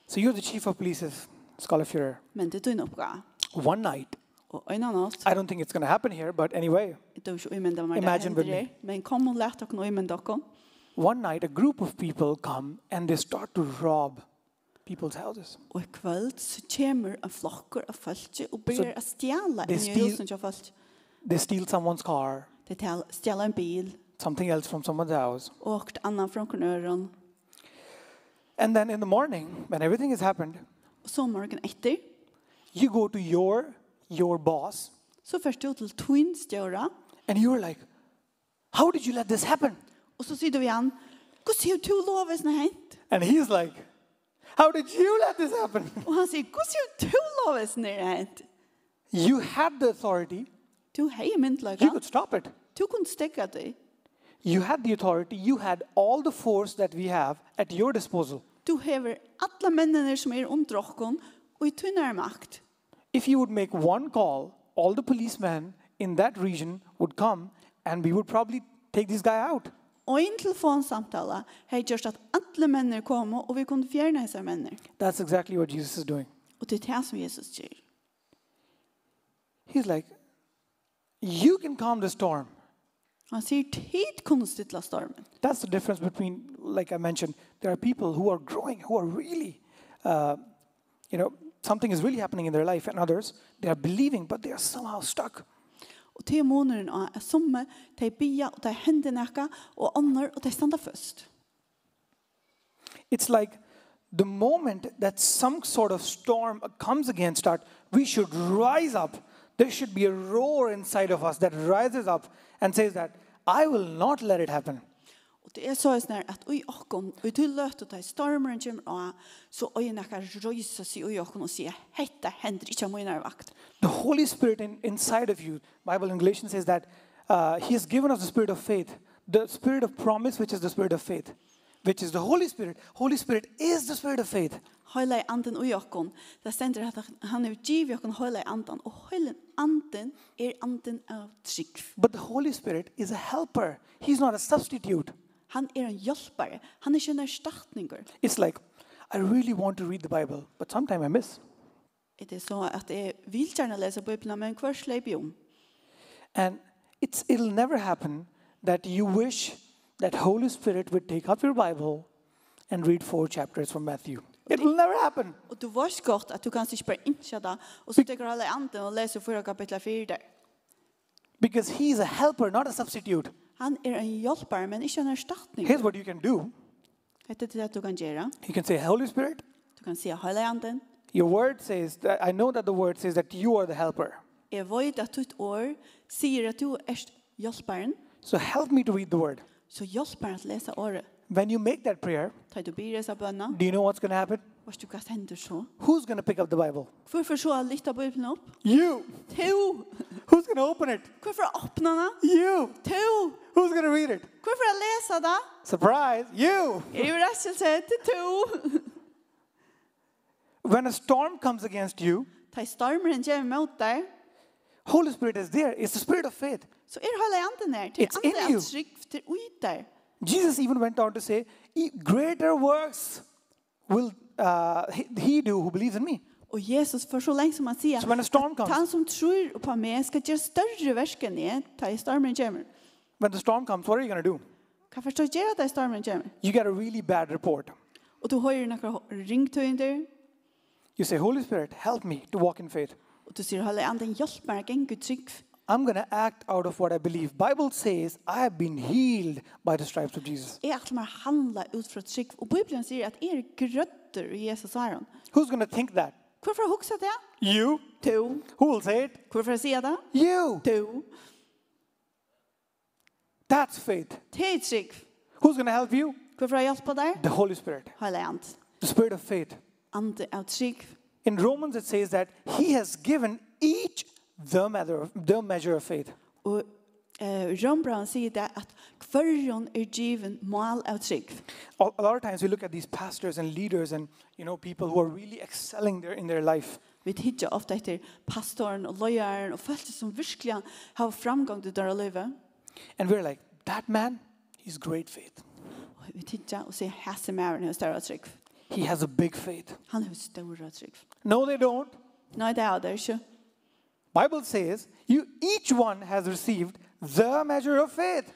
C: So you're the chief of police of Skolafjord.
B: Men det er din oppgave.
C: One night.
B: Og en annen natt.
C: I don't think it's going to happen here, but anyway,
B: Jeg tror ikke umynda meg det
C: Imagine with
B: hender.
C: me.
B: Men kom og let dere umynda dere.
C: one night a group of people come and they start to rob people's houses.
B: Og i kveld så kommer en flokker av folk og
C: Så
B: blir å stjæle
C: det
B: inn i
C: stil-
B: husen av folk.
C: They steal someone's car,
B: Det er stjæle en bil
C: something else from someone's house.
B: og et annet fra noen øren.
C: And then in the morning, when everything has happened,
B: Og så morgen etter,
C: you go to your your boss
B: så først du til Twin stjøra,
C: and you're like, "How did you let this happen?"
B: og så sier du igjen, hva sier du lovet som hent?
C: And he's like, "How did you let this happen?"
B: Og han sier, hva sier du lovet som hent?
C: You had the authority.
B: Du hei myndlaga,
C: You could stop it.
B: du kunne stekke deg.
C: You had the authority. You had all the force that we have at your disposal.
B: Du hever alle mennene som er omdrokken, og i tunnere makt.
C: If you would make one call, all the policemen in that region would come and we would probably take this guy out.
B: Og en telefonsamtale har gjort at alle mennene kom, og vi kunne fjerne disse mennene.
C: That's exactly what Jesus is doing.
B: Og det er det som Jesus sier.
C: He's like, You can calm the storm.
B: Han sier, tid kunne stille stormen.
C: That's the difference between, like I mentioned, there are people who are growing, who are really, uh, you know, something is really happening in their life, and others, they are believing, but they are somehow stuck.
B: Og til måneden av er somme, de bia, og de hender nekka, og ånder, og de standa først.
C: It's like the moment that some sort of storm comes against us, we should rise up. There should be a roar inside of us that rises up and says that, I will not let it happen.
B: Og det er så snær at ui okkon, ui til løt og de stormeren kommer av, så ui nekka røysa seg ui okkon og sier, hette hender ikke av mine vakt.
C: The Holy Spirit in, inside of you, Bible in Galatians says that uh, He has given us the spirit of faith, the spirit of promise, which is the spirit of faith, which is the Holy Spirit. Holy Spirit is the spirit of faith.
B: Høyla i anden ui okkon, det stender at han er giv i okkon høyla i anden, og høyla i anden er anden av trygg.
C: But the Holy Spirit is a helper. He's not a substitute.
B: Han er en hjelpare, han er ikke en erstatninger.
C: It's like, I really want to read the Bible, but sometime I miss.
B: Er det så at jeg vil gjerne lese Bibelen, men hver sleip jo om?
C: And it's, it'll never happen that you wish that Holy Spirit would take up your Bible and read four chapters from Matthew. It will never happen.
B: Og du vet godt at du kanskje ikke bare innskjer det, og så teker alle anden og leser fyra kapitlet 4 der.
C: Because he is a helper, not a substitute.
B: Han er en hjelpare, men ikke en erstatning.
C: Here's what you can do.
B: Vet du det du kan gjøre?
C: You can say, Holy Spirit,
B: Du kan si hele anden.
C: your word says, that, I know that the word says that you are the helper.
B: Jeg vet at ditt år sier at du er hjelparen,
C: So help me to read the word.
B: så hjelparen til å lese året.
C: When you make that prayer,
B: Ta du blir disse bønner,
C: do you know what's going to happen?
B: hva du kan hende så?
C: Who's going to pick up the Bible?
B: Hvorfor så er litt av Bibelen opp?
C: You.
B: To!
C: Who's going to open it?
B: Hvorfor åpner den?
C: You.
B: To!
C: Who's going to read it?
B: Hvorfor jeg leser det? Er
C: Surprise, you.
B: Jeg vil ikke si til to!
C: When a storm comes against you,
B: Ta stormeren kommer mot deg,
C: Holy Spirit is there. It's the spirit of faith.
B: så er hele anden her. Til
C: It's in
B: andre
C: you.
B: at trygg til ut der.
C: Jesus even went on to say, "E- Greater works will uh, he, he do who believes in me.
B: Og Jesus for så lenge som han sier,
C: So when a storm
B: at
C: comes-
B: han som tror på meg skal gjøre større verk enn jeg, ta i stormen kommer.
C: When the storm comes, what are you going to do?
B: Hva forstår jeg at ta i stormen kommer?
C: You get a really bad report.
B: Og du hører noen ringtøynder,
C: You say, Holy Spirit, help me to walk in faith.
B: og du sier, hele anden hjelp meg, jeg gikk trygg.
C: I'm going to act out of what I believe. Bible says, I have been healed by the stripes of Jesus.
B: Jeg ætler meg å handle ut fra trygg. Og Bibelen sier at jeg er grøtter i Jesus, sier han.
C: Who's going to think that?
B: Hvorfor har jeg hukset det?
C: You.
B: To.
C: Who will say it?
B: Hvorfor har jeg sier det?
C: You.
B: To.
C: That's faith.
B: Det er trygg.
C: Who's going to help you?
B: Hvorfor har jeg hjulpet deg?
C: The Holy Spirit,
B: Hele and.
C: the spirit of faith.
B: Ande av trygg.
C: In Romans, it says that he has given each the measure, the measure of faith.
B: Og eh, Rambran sier det at hverjon er given mal av trygg.
C: A a lot of times we look at these pastors and leaders and you know people who are really excelling their, in their life.
B: Vi tidser ofte etter pastoren og løyeren og følte som virkelig har framgang til døra livet.
C: And we're like, that man, he's great faith.
B: Og vi tidser og sier hæse mæren har større trygg.
C: He has a big faith.
B: Han har større trygg.
C: No, they don't.
B: Nei, det er det ikke.
C: Bible says you each one has received the measure of faith.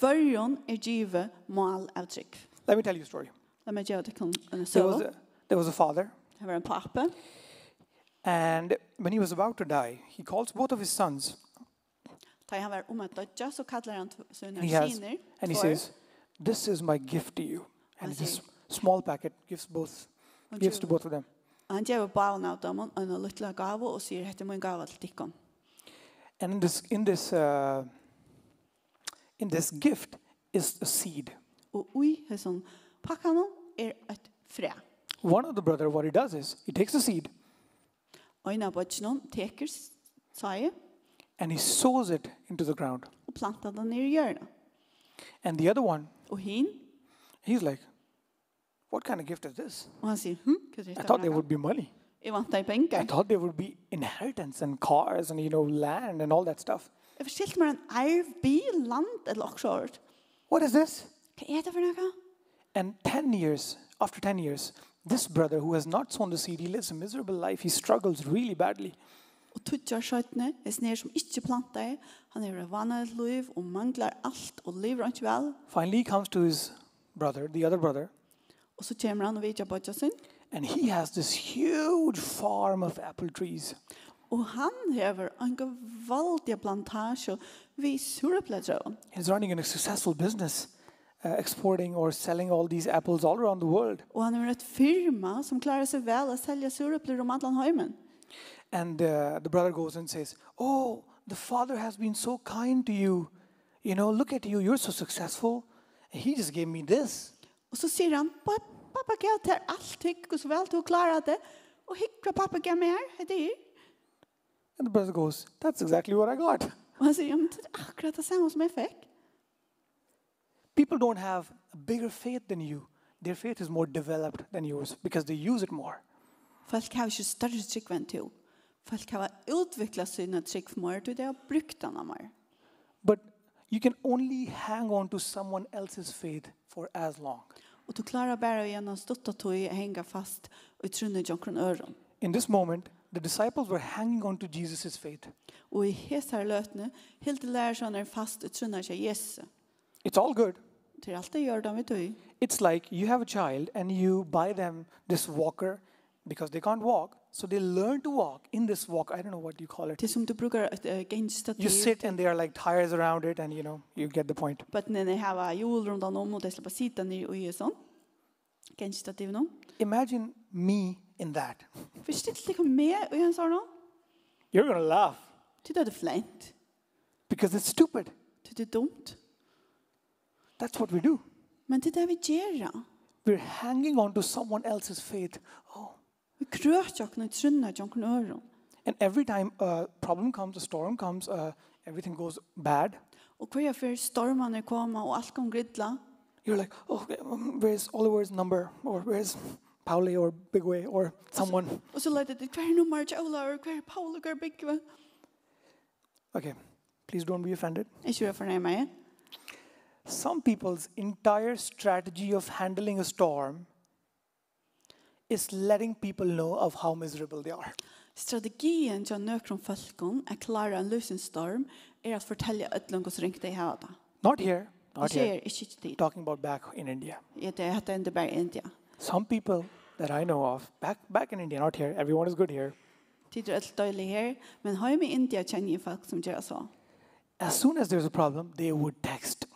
B: Hverjon er give mal av trygg.
C: Let me tell you a story.
B: La meg gjøre det kan en
C: There was
B: søvn.
C: a, there was a father,
B: Det var en pappe.
C: and when he was about to die, he calls both of his sons
B: Da han var om at dødja, så kallar han t- sine
C: and he has
B: siner.
C: and he
B: for-
C: says, "This is my gift to you." And
B: I
C: it's
B: see.
C: a s- small packet gives both
B: Would
C: gives to
B: you-
C: both of them.
B: Han gjør barn av dem og en liten gave og sier, hette min gave til dikken.
C: And in this in this uh, in this gift is a seed.
B: Og ui, hesson, pakka noen er et fræ.
C: One of the brother, what he does is he takes a seed
B: Øyne av bøtjen teker s- saie
C: and he sows it into the ground.
B: og planter den ned i hjørnet.
C: And the other one,
B: Og hin,
C: he's like, "What kind of gift is this?
B: og han sier, hm, hva er
C: I
B: det?
C: thought there would be money.
B: Jeg vant deg
C: I
B: penger.
C: thought there would be inheritance and cars and you know land and all that stuff.
B: Jeg forstilte meg en arv, bil, land eller oksjord.
C: What is this?"
B: Hva er det for noe?
C: And 10 years, after 10 years, this brother who has not sown the seed, he lives a miserable life. He struggles really badly.
B: Og tuttjar skjøttene, er sned som ikke planter i. Han er vannet et liv og mangler alt og lever ikke vel.
C: Finally, he comes to his brother, the other brother,
B: Og så kommer han og vidtjer bøtja sin.
C: and he has this huge farm of apple trees.
B: Og han hever en gevaldig plantasje ved surepledrøven.
C: He's running a successful business, uh, exporting or selling all these apples all around the world.
B: Og han er et firma som klarer seg vel å selge surepledrøven om alle høymen.
C: And uh, the brother goes and says, Oh, the father has been so kind to you. You know, look at you, you're so successful. He just gave me this.
B: Og så sier han, "Pa- pappa gav til alt hikk og så vel til å klare det. Og hikk hva pappa gav meg her, heter jeg.
C: And the brother goes, That's exactly what I got.
B: Og han sier, ja, men det er akkurat det samme som jeg fikk.
C: People don't have a bigger faith than you. Their faith is more developed than yours because they use it more.
B: Folk har ikke større trygg enn til. Folk har utviklet sine trygg for mer, og de har brukt den av mer.
C: But you can only hang on to someone else's faith for as long.
B: Og du klarer bare gjennom stått og tog henge fast og i trunnet jonkron øren.
C: In this moment, the disciples were hanging on to Jesus' faith.
B: Og i hesar løtene, helt til lærer sånn er fast og trunnet seg Jesus.
C: It's all good.
B: Til alt det gjør de i tog.
C: It's like you have a child and you buy them this walker because they can't walk. So they learn to walk in this walk. I don't know what you call it.
B: Til som du bruker et uh,
C: You
B: genstativ.
C: sit and there are like tires around it, and you know, you get the point.
B: Bøttene har jord rundt om, og de slipper sitte ned i øyet sånn. Genstativ nå.
C: Imagine me in that.
B: Forstilt ikke med i en sånn nå.
C: You're going to laugh
B: Til det er det flent.
C: because it's stupid.
B: Til det er dumt.
C: That's what we do.
B: Men til det er vi gjør da.
C: We're hanging on to someone else's faith. Oh.
B: Vi krøt jo ikke noe trunnet jo ikke noe øren.
C: And every time a problem comes, a storm comes, uh, everything goes bad,
B: Og hver før stormene kommer og alt kan gridla,
C: you're like, oh, okay, um, where's Oliver's number? Or where's Pauli or Big Way or someone.
B: Og så lærte det hver nummer til Ola, og hver er Paul, og hver Bigve.
C: Okay, please don't be offended.
B: Ikke hva for meg.
C: Some people's entire strategy of handling a storm is letting people know of how miserable they are.
B: Strategien til nøkron falkon er klare en løsenstorm, er at fortelle ødlong hos ringt de her da.
C: Not here,
B: Det
C: not here.
B: skjer ikke til tid.
C: Talking about back in India.
B: Ja, det heter enda bare India.
C: Some people that I know of back back in India, not here. Everyone is good here.
B: Tid er alt døylig her, men hjemme i India kjenner jeg folk som gjør så.
C: As soon as there's a problem, they would text.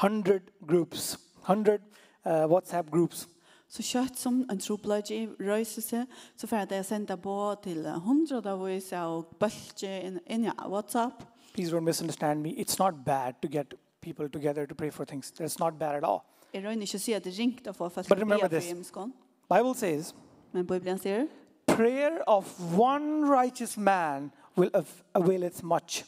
C: Hundred groups, hundred uh, WhatsApp groups.
B: Så kjøtt som en trobløyge røyser seg, så får jeg det sende på til hundredavis og bølge inn, inn i WhatsApp.
C: Please don't misunderstand me. It's not bad to get people together to pray for things. That's not bad at all.
B: Jeg røyner ikke å si at det ringte å få folk
C: But remember this.
B: hjemmeskånd.
C: Bible says
B: Men Bibelen sier,
C: prayer of one righteous man will av- availeth much.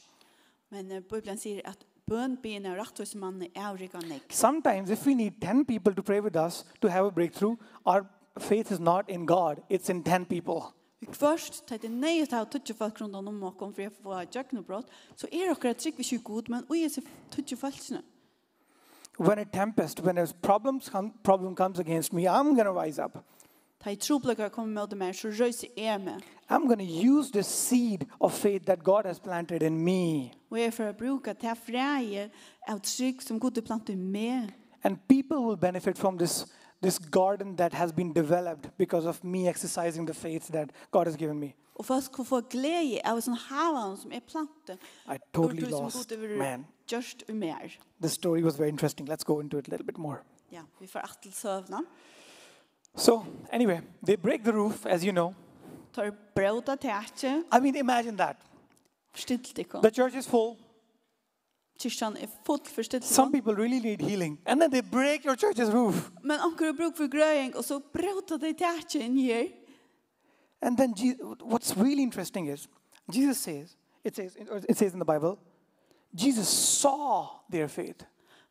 B: men eh, Bibelen sier at bøn begynner rett hos mannen er avrykket nek.
C: Sometimes, if we need 10 people to pray with us to have a breakthrough, our faith is not in God, it's in 10 people.
B: Først, til det nøye til å tøtje folk er rundt om og om for jeg får et jøknebrott, så er dere trygg hvis ikke god, men ui er så tøtje folkene.
C: When a tempest, when a problems come, problem comes against me, I'm going to rise up.
B: Da jeg troblekker kommer med meg, så røyser jeg meg.
C: I'm going to use the seed of faith that God has planted in me.
B: Og jeg får bruke til freie av trygg er som god plant i meg.
C: And people will benefit from this, this garden that has been developed because of me exercising the faith that God has given me.
B: Og folk kan få glede av sånn havan som er plantet.
C: I totally
B: Ur det som
C: lost,
B: Gud um vil
C: man.
B: Gjørst og mer.
C: This story was very interesting. Let's go into it a little bit more.
B: Ja, vi får alt til søvna.
C: So, anyway, they break the roof, as you know.
B: Tar brød av tætje.
C: I mean, imagine that.
B: Stilt ikke.
C: The church is full.
B: Kyrkjan er full for stilt
C: Some people really need healing. And then they break your church's roof.
B: Men anker har bruk for grøying, og så brød av det tætje inn her.
C: And then Je- what's really interesting is Jesus says, it says, it says in the Bible, Jesus saw their faith.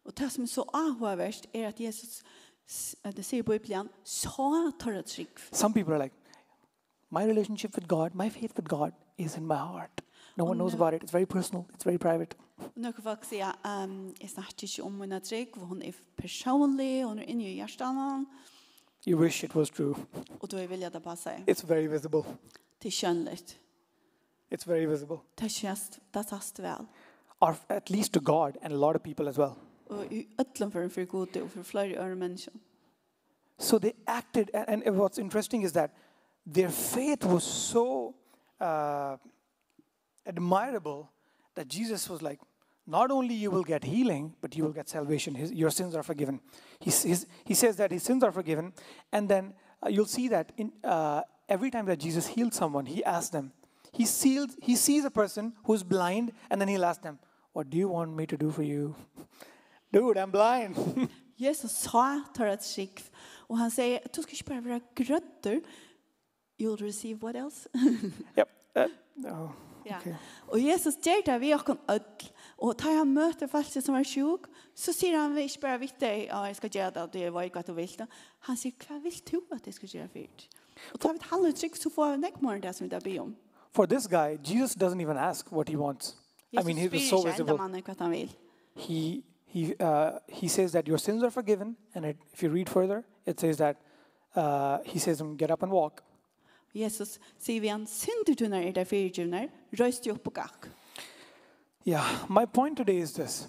B: Og det som er så avhåverst er at Jesus, s- at det sier på Bibelen, så tar det trygg.
C: Some people are like, my relationship with God, my faith with God is in my heart. No one knows about it. It's very personal. It's very private.
B: Några folk säger um, jag snackar inte om mina trygg, hon är personlig, hon är inne i hjärtan
C: You wish it was true.
B: och då vill jag det bara säga.
C: It's very visible.
B: Det är könligt.
C: It's very visible.
B: Det känns, det tas väl.
C: Or at least to God and a lot of people as well.
B: Och i ödlan för en för god och för flera öre människor.
C: So they acted, and, and what's interesting is that their faith was so uh, admirable that Jesus was like, not only you will get healing, but you will get salvation. His, your sins are forgiven. He, s- his, he says that his sins are forgiven, and then uh, you'll see that in, uh, every time that Jesus healed someone, he asked them. He sealed. He sees a person who's blind, and then he'll ask them, "What do you want me to do for you, dude? I'm blind."
B: Jesus sa tar det trygg och han säger, du ska inte bara vara grötter. You'll receive what else?
C: yep. Uh, oh,
B: Ja.
C: okay.
B: Og Jesus gjør det vi åkken ødel. Og da han møter falske som er sjuk, så sier han ikke bare vitt deg, ja, jeg skal gjøre det, og det var ikke at du vil det. Han sier, hva vil du at jeg skal gjøre fyrt? Og tar vi et halvt trykk, så får vi nekk morgen det som vi da blir om.
C: For this guy, Jesus doesn't even ask what he wants. I mean, he was so visible.
B: mannen hva han vil.
C: He, he, uh, he says that your sins are forgiven. And it, if you read further, it says that uh, he says, to him, get up and walk.
B: Jesus sier vi han, syndertuner er det fyrtjuner, røyst jo opp på gakk.
C: Yeah, my point today is this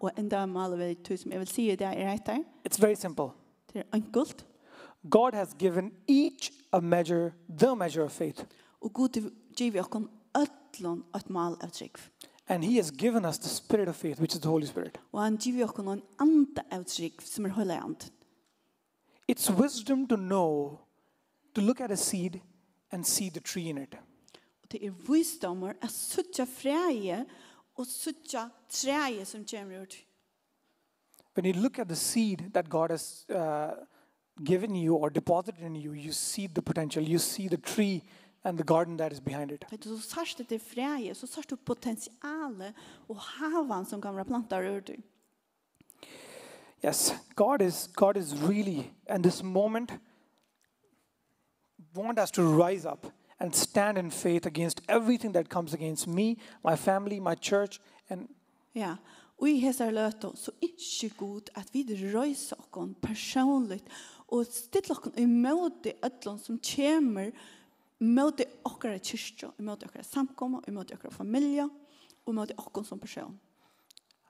B: Og enda maler vi to som jeg vil si det er rett der.
C: it's very simple.
B: Det er enkelt.
C: God has given each a measure, the measure of faith.
B: Og god gir vi åkken ødelen et mal av trygg.
C: And he has given us the spirit of faith, which is the Holy Spirit.
B: Og han gir vi åkken en anda av trygg som er høyla ant.
C: It's wisdom to know, to look at a seed and see the tree in it.
B: Og det er visdommer at suttja freie og suttja treie som kommer ut.
C: when you look at the seed that God has uh, given you or deposited in you, you see the potential, you see the tree and the garden that is behind it.
B: For du sørst etter freie, så sørst du potensialet og havan som kan være plantar ur du.
C: Yes, God is God is really and this moment want us to rise up and stand in faith against everything that comes against me, my family, my church, and
B: Ja. Og i hesar løtu, så ikkje god at vi røysa okkon personligt og stilla okkon i møte öllon som kjemer møte okkara kyrkja, i møte okkara samkomma, i møte okkara familja, og møte okkon som person.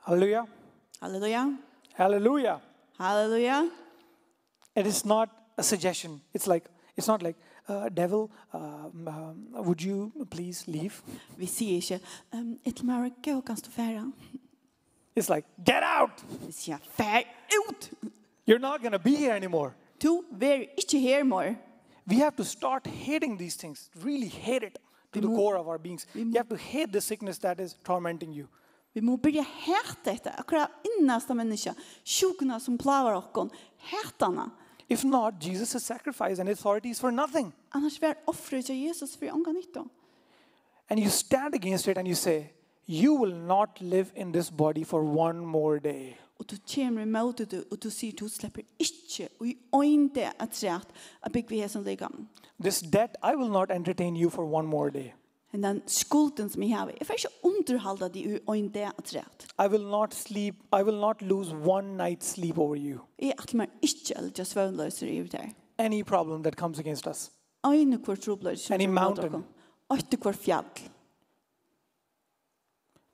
C: hallelujah,
B: Halleluja.
C: hallelujah.
B: Halleluja.
C: It is not a suggestion. It's like, it's not like, uh, devil, um, um, would you please leave?
B: Vi sier ikkje, um, etter meg, gå kan stå færa.
C: It's like, get out!
B: Vi sier, fær ut!
C: You're not going to be here anymore.
B: Du ver ikkje her mor.
C: We have to start hating these things, really hate it to the core of our beings. You have to hate the sickness that is tormenting you.
B: Vi må börja härta detta. Akkurat innersta människa. Sjukna som plavar okkon. Härtarna.
C: If not, Jesus' sacrifice and authority is for nothing.
B: Annars var offret till Jesus för ånga nytta.
C: And you stand against it and you say, You will not live in this body for one more day.
B: Och du kommer emot det och du säger du släpper inte och i inte att säga att bygga vi här som ligam.
C: This debt, I will not entertain you for one more day.
B: Men den skulden som jag har, jag får inte underhålla dig och inte att säga att
C: I will not sleep, I will not lose one night's sleep over you.
B: jag att man inte eller jag svönlöser i det här.
C: Any problem that comes against us.
B: Ein kvar troblöjt.
C: Any mountain.
B: Åtte kvar fjall.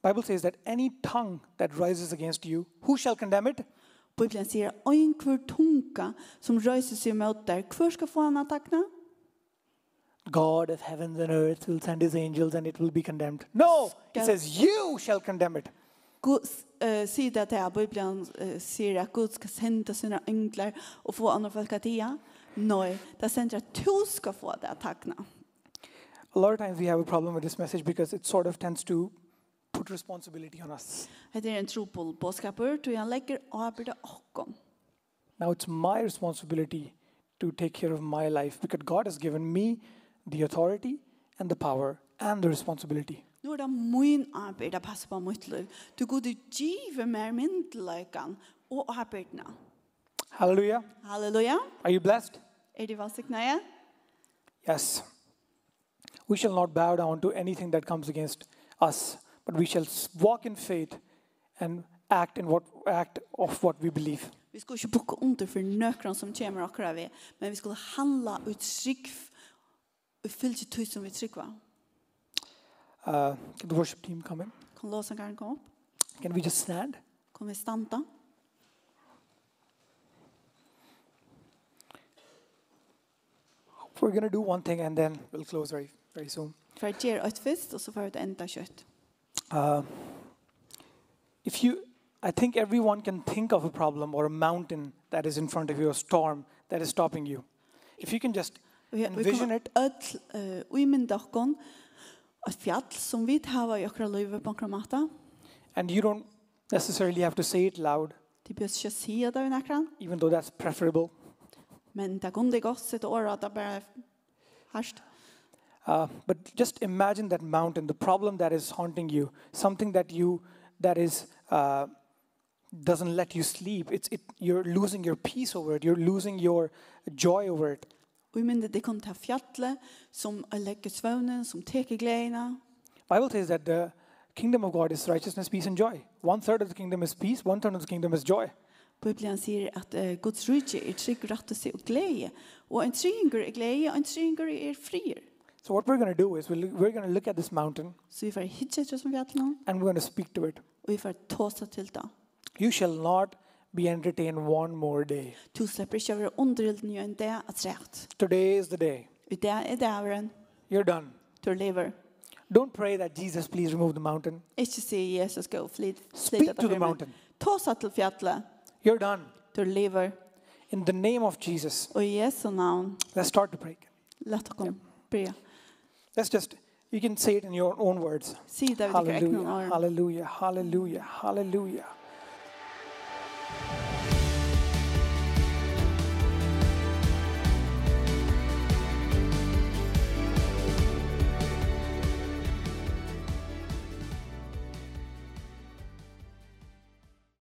C: Bible says that any tongue that rises against you, who shall condemn it?
B: Bibelen sier ein kvar tunga som røyser seg mot der. Hvor skal få han attakna?
C: God of heavens and earth will send his angels and it will be condemned. No, it
B: Skal-
C: says you shall condemn it.
B: Gud uh, sier det til at Bibelen uh, sier at Gud skal sende sine engler og få andre folk at dia. Nei, det sender at du skal få det attakna.
C: A lot of times we have a problem with this message because it sort of tends to put responsibility on us.
B: Det er en trobol bådskaper, tror han legger avbyrda okkom.
C: Now it's my responsibility to take care of my life because God has given me the authority and the power and the responsibility.
B: Nå er det min arbeid å passe på mitt liv. Du god give mer myndeløyken og arbeidene.
C: Hallelujah.
B: Halleluja.
C: Are you blessed?
B: Er det vansikna jeg?
C: Yes. We shall not bow down to anything that comes against us, but we shall s- walk in faith and act in what act of what we believe.
B: Vi skulle ikke bukke under for nøkron som kommer akkurat vi, men vi skulle handla ut trygg og fylle tøy som vi trygg var.
C: Uh, can the worship team come in?
B: Kan låsen kan komme opp?
C: Can we just stand?
B: Kan vi standa?
C: We're going to do one thing and then we'll close very very soon.
B: For jeg gjør et fest, og så får jeg et enda kjøtt.
C: Uh, if you, I think everyone can think of a problem or a mountain that is in front of you, a storm that is stopping you. If you can just
B: Og vi- vi
C: envision
B: kommer
C: it,
B: ødel, uh, og i min dagen, et fjall som vi tar i akkurat livet på akkurat maten.
C: and you don't necessarily have to say it loud,
B: Det bør ikke si det vi akkurat,
C: even though that's preferable.
B: men det kunne det godt sitte året at det bare herst.
C: Uh, but just imagine that mountain, the problem that is haunting you, something that you that is uh, doesn't let you sleep. It's it, you're losing your peace over it. You're losing your joy over it.
B: Og jeg mener det kunne ta fjallet som legger svøvnen, som teker gledene,
C: Bible says that the kingdom of God is righteousness, peace, and joy. One third of the kingdom is peace. One third of the kingdom is joy.
B: Bibelen sier at uh, Guds rydde er trygg rettelse og glede. Og en trygger er glede, og en trygger er frier.
C: So what we're going to do is we'll, we're going to look at this mountain
B: Så vi får hitje etter som vi har til nå,
C: and we're going to speak to it.
B: og vi får tåse til det.
C: You shall not be entertained one more day.
B: Du slipper ikke å være underhilden jo enn det at rett.
C: Today is the day.
B: Og det er det avren,
C: You're done.
B: du lever.
C: Don't pray that Jesus, please remove the mountain.
B: Ikke si Jesus gå og flit.
C: Speak to the mountain.
B: Tåse til fjallet,
C: You're done.
B: du lever.
C: In the name of Jesus,
B: Og i Jesu navn,
C: let's start to pray.
B: la dere be.
C: Let's just, you can say it in your own words.
B: Si det vi tenker
C: Hallelujah,
B: egne ord.
C: hallelujah, hallelujah, hallelujah.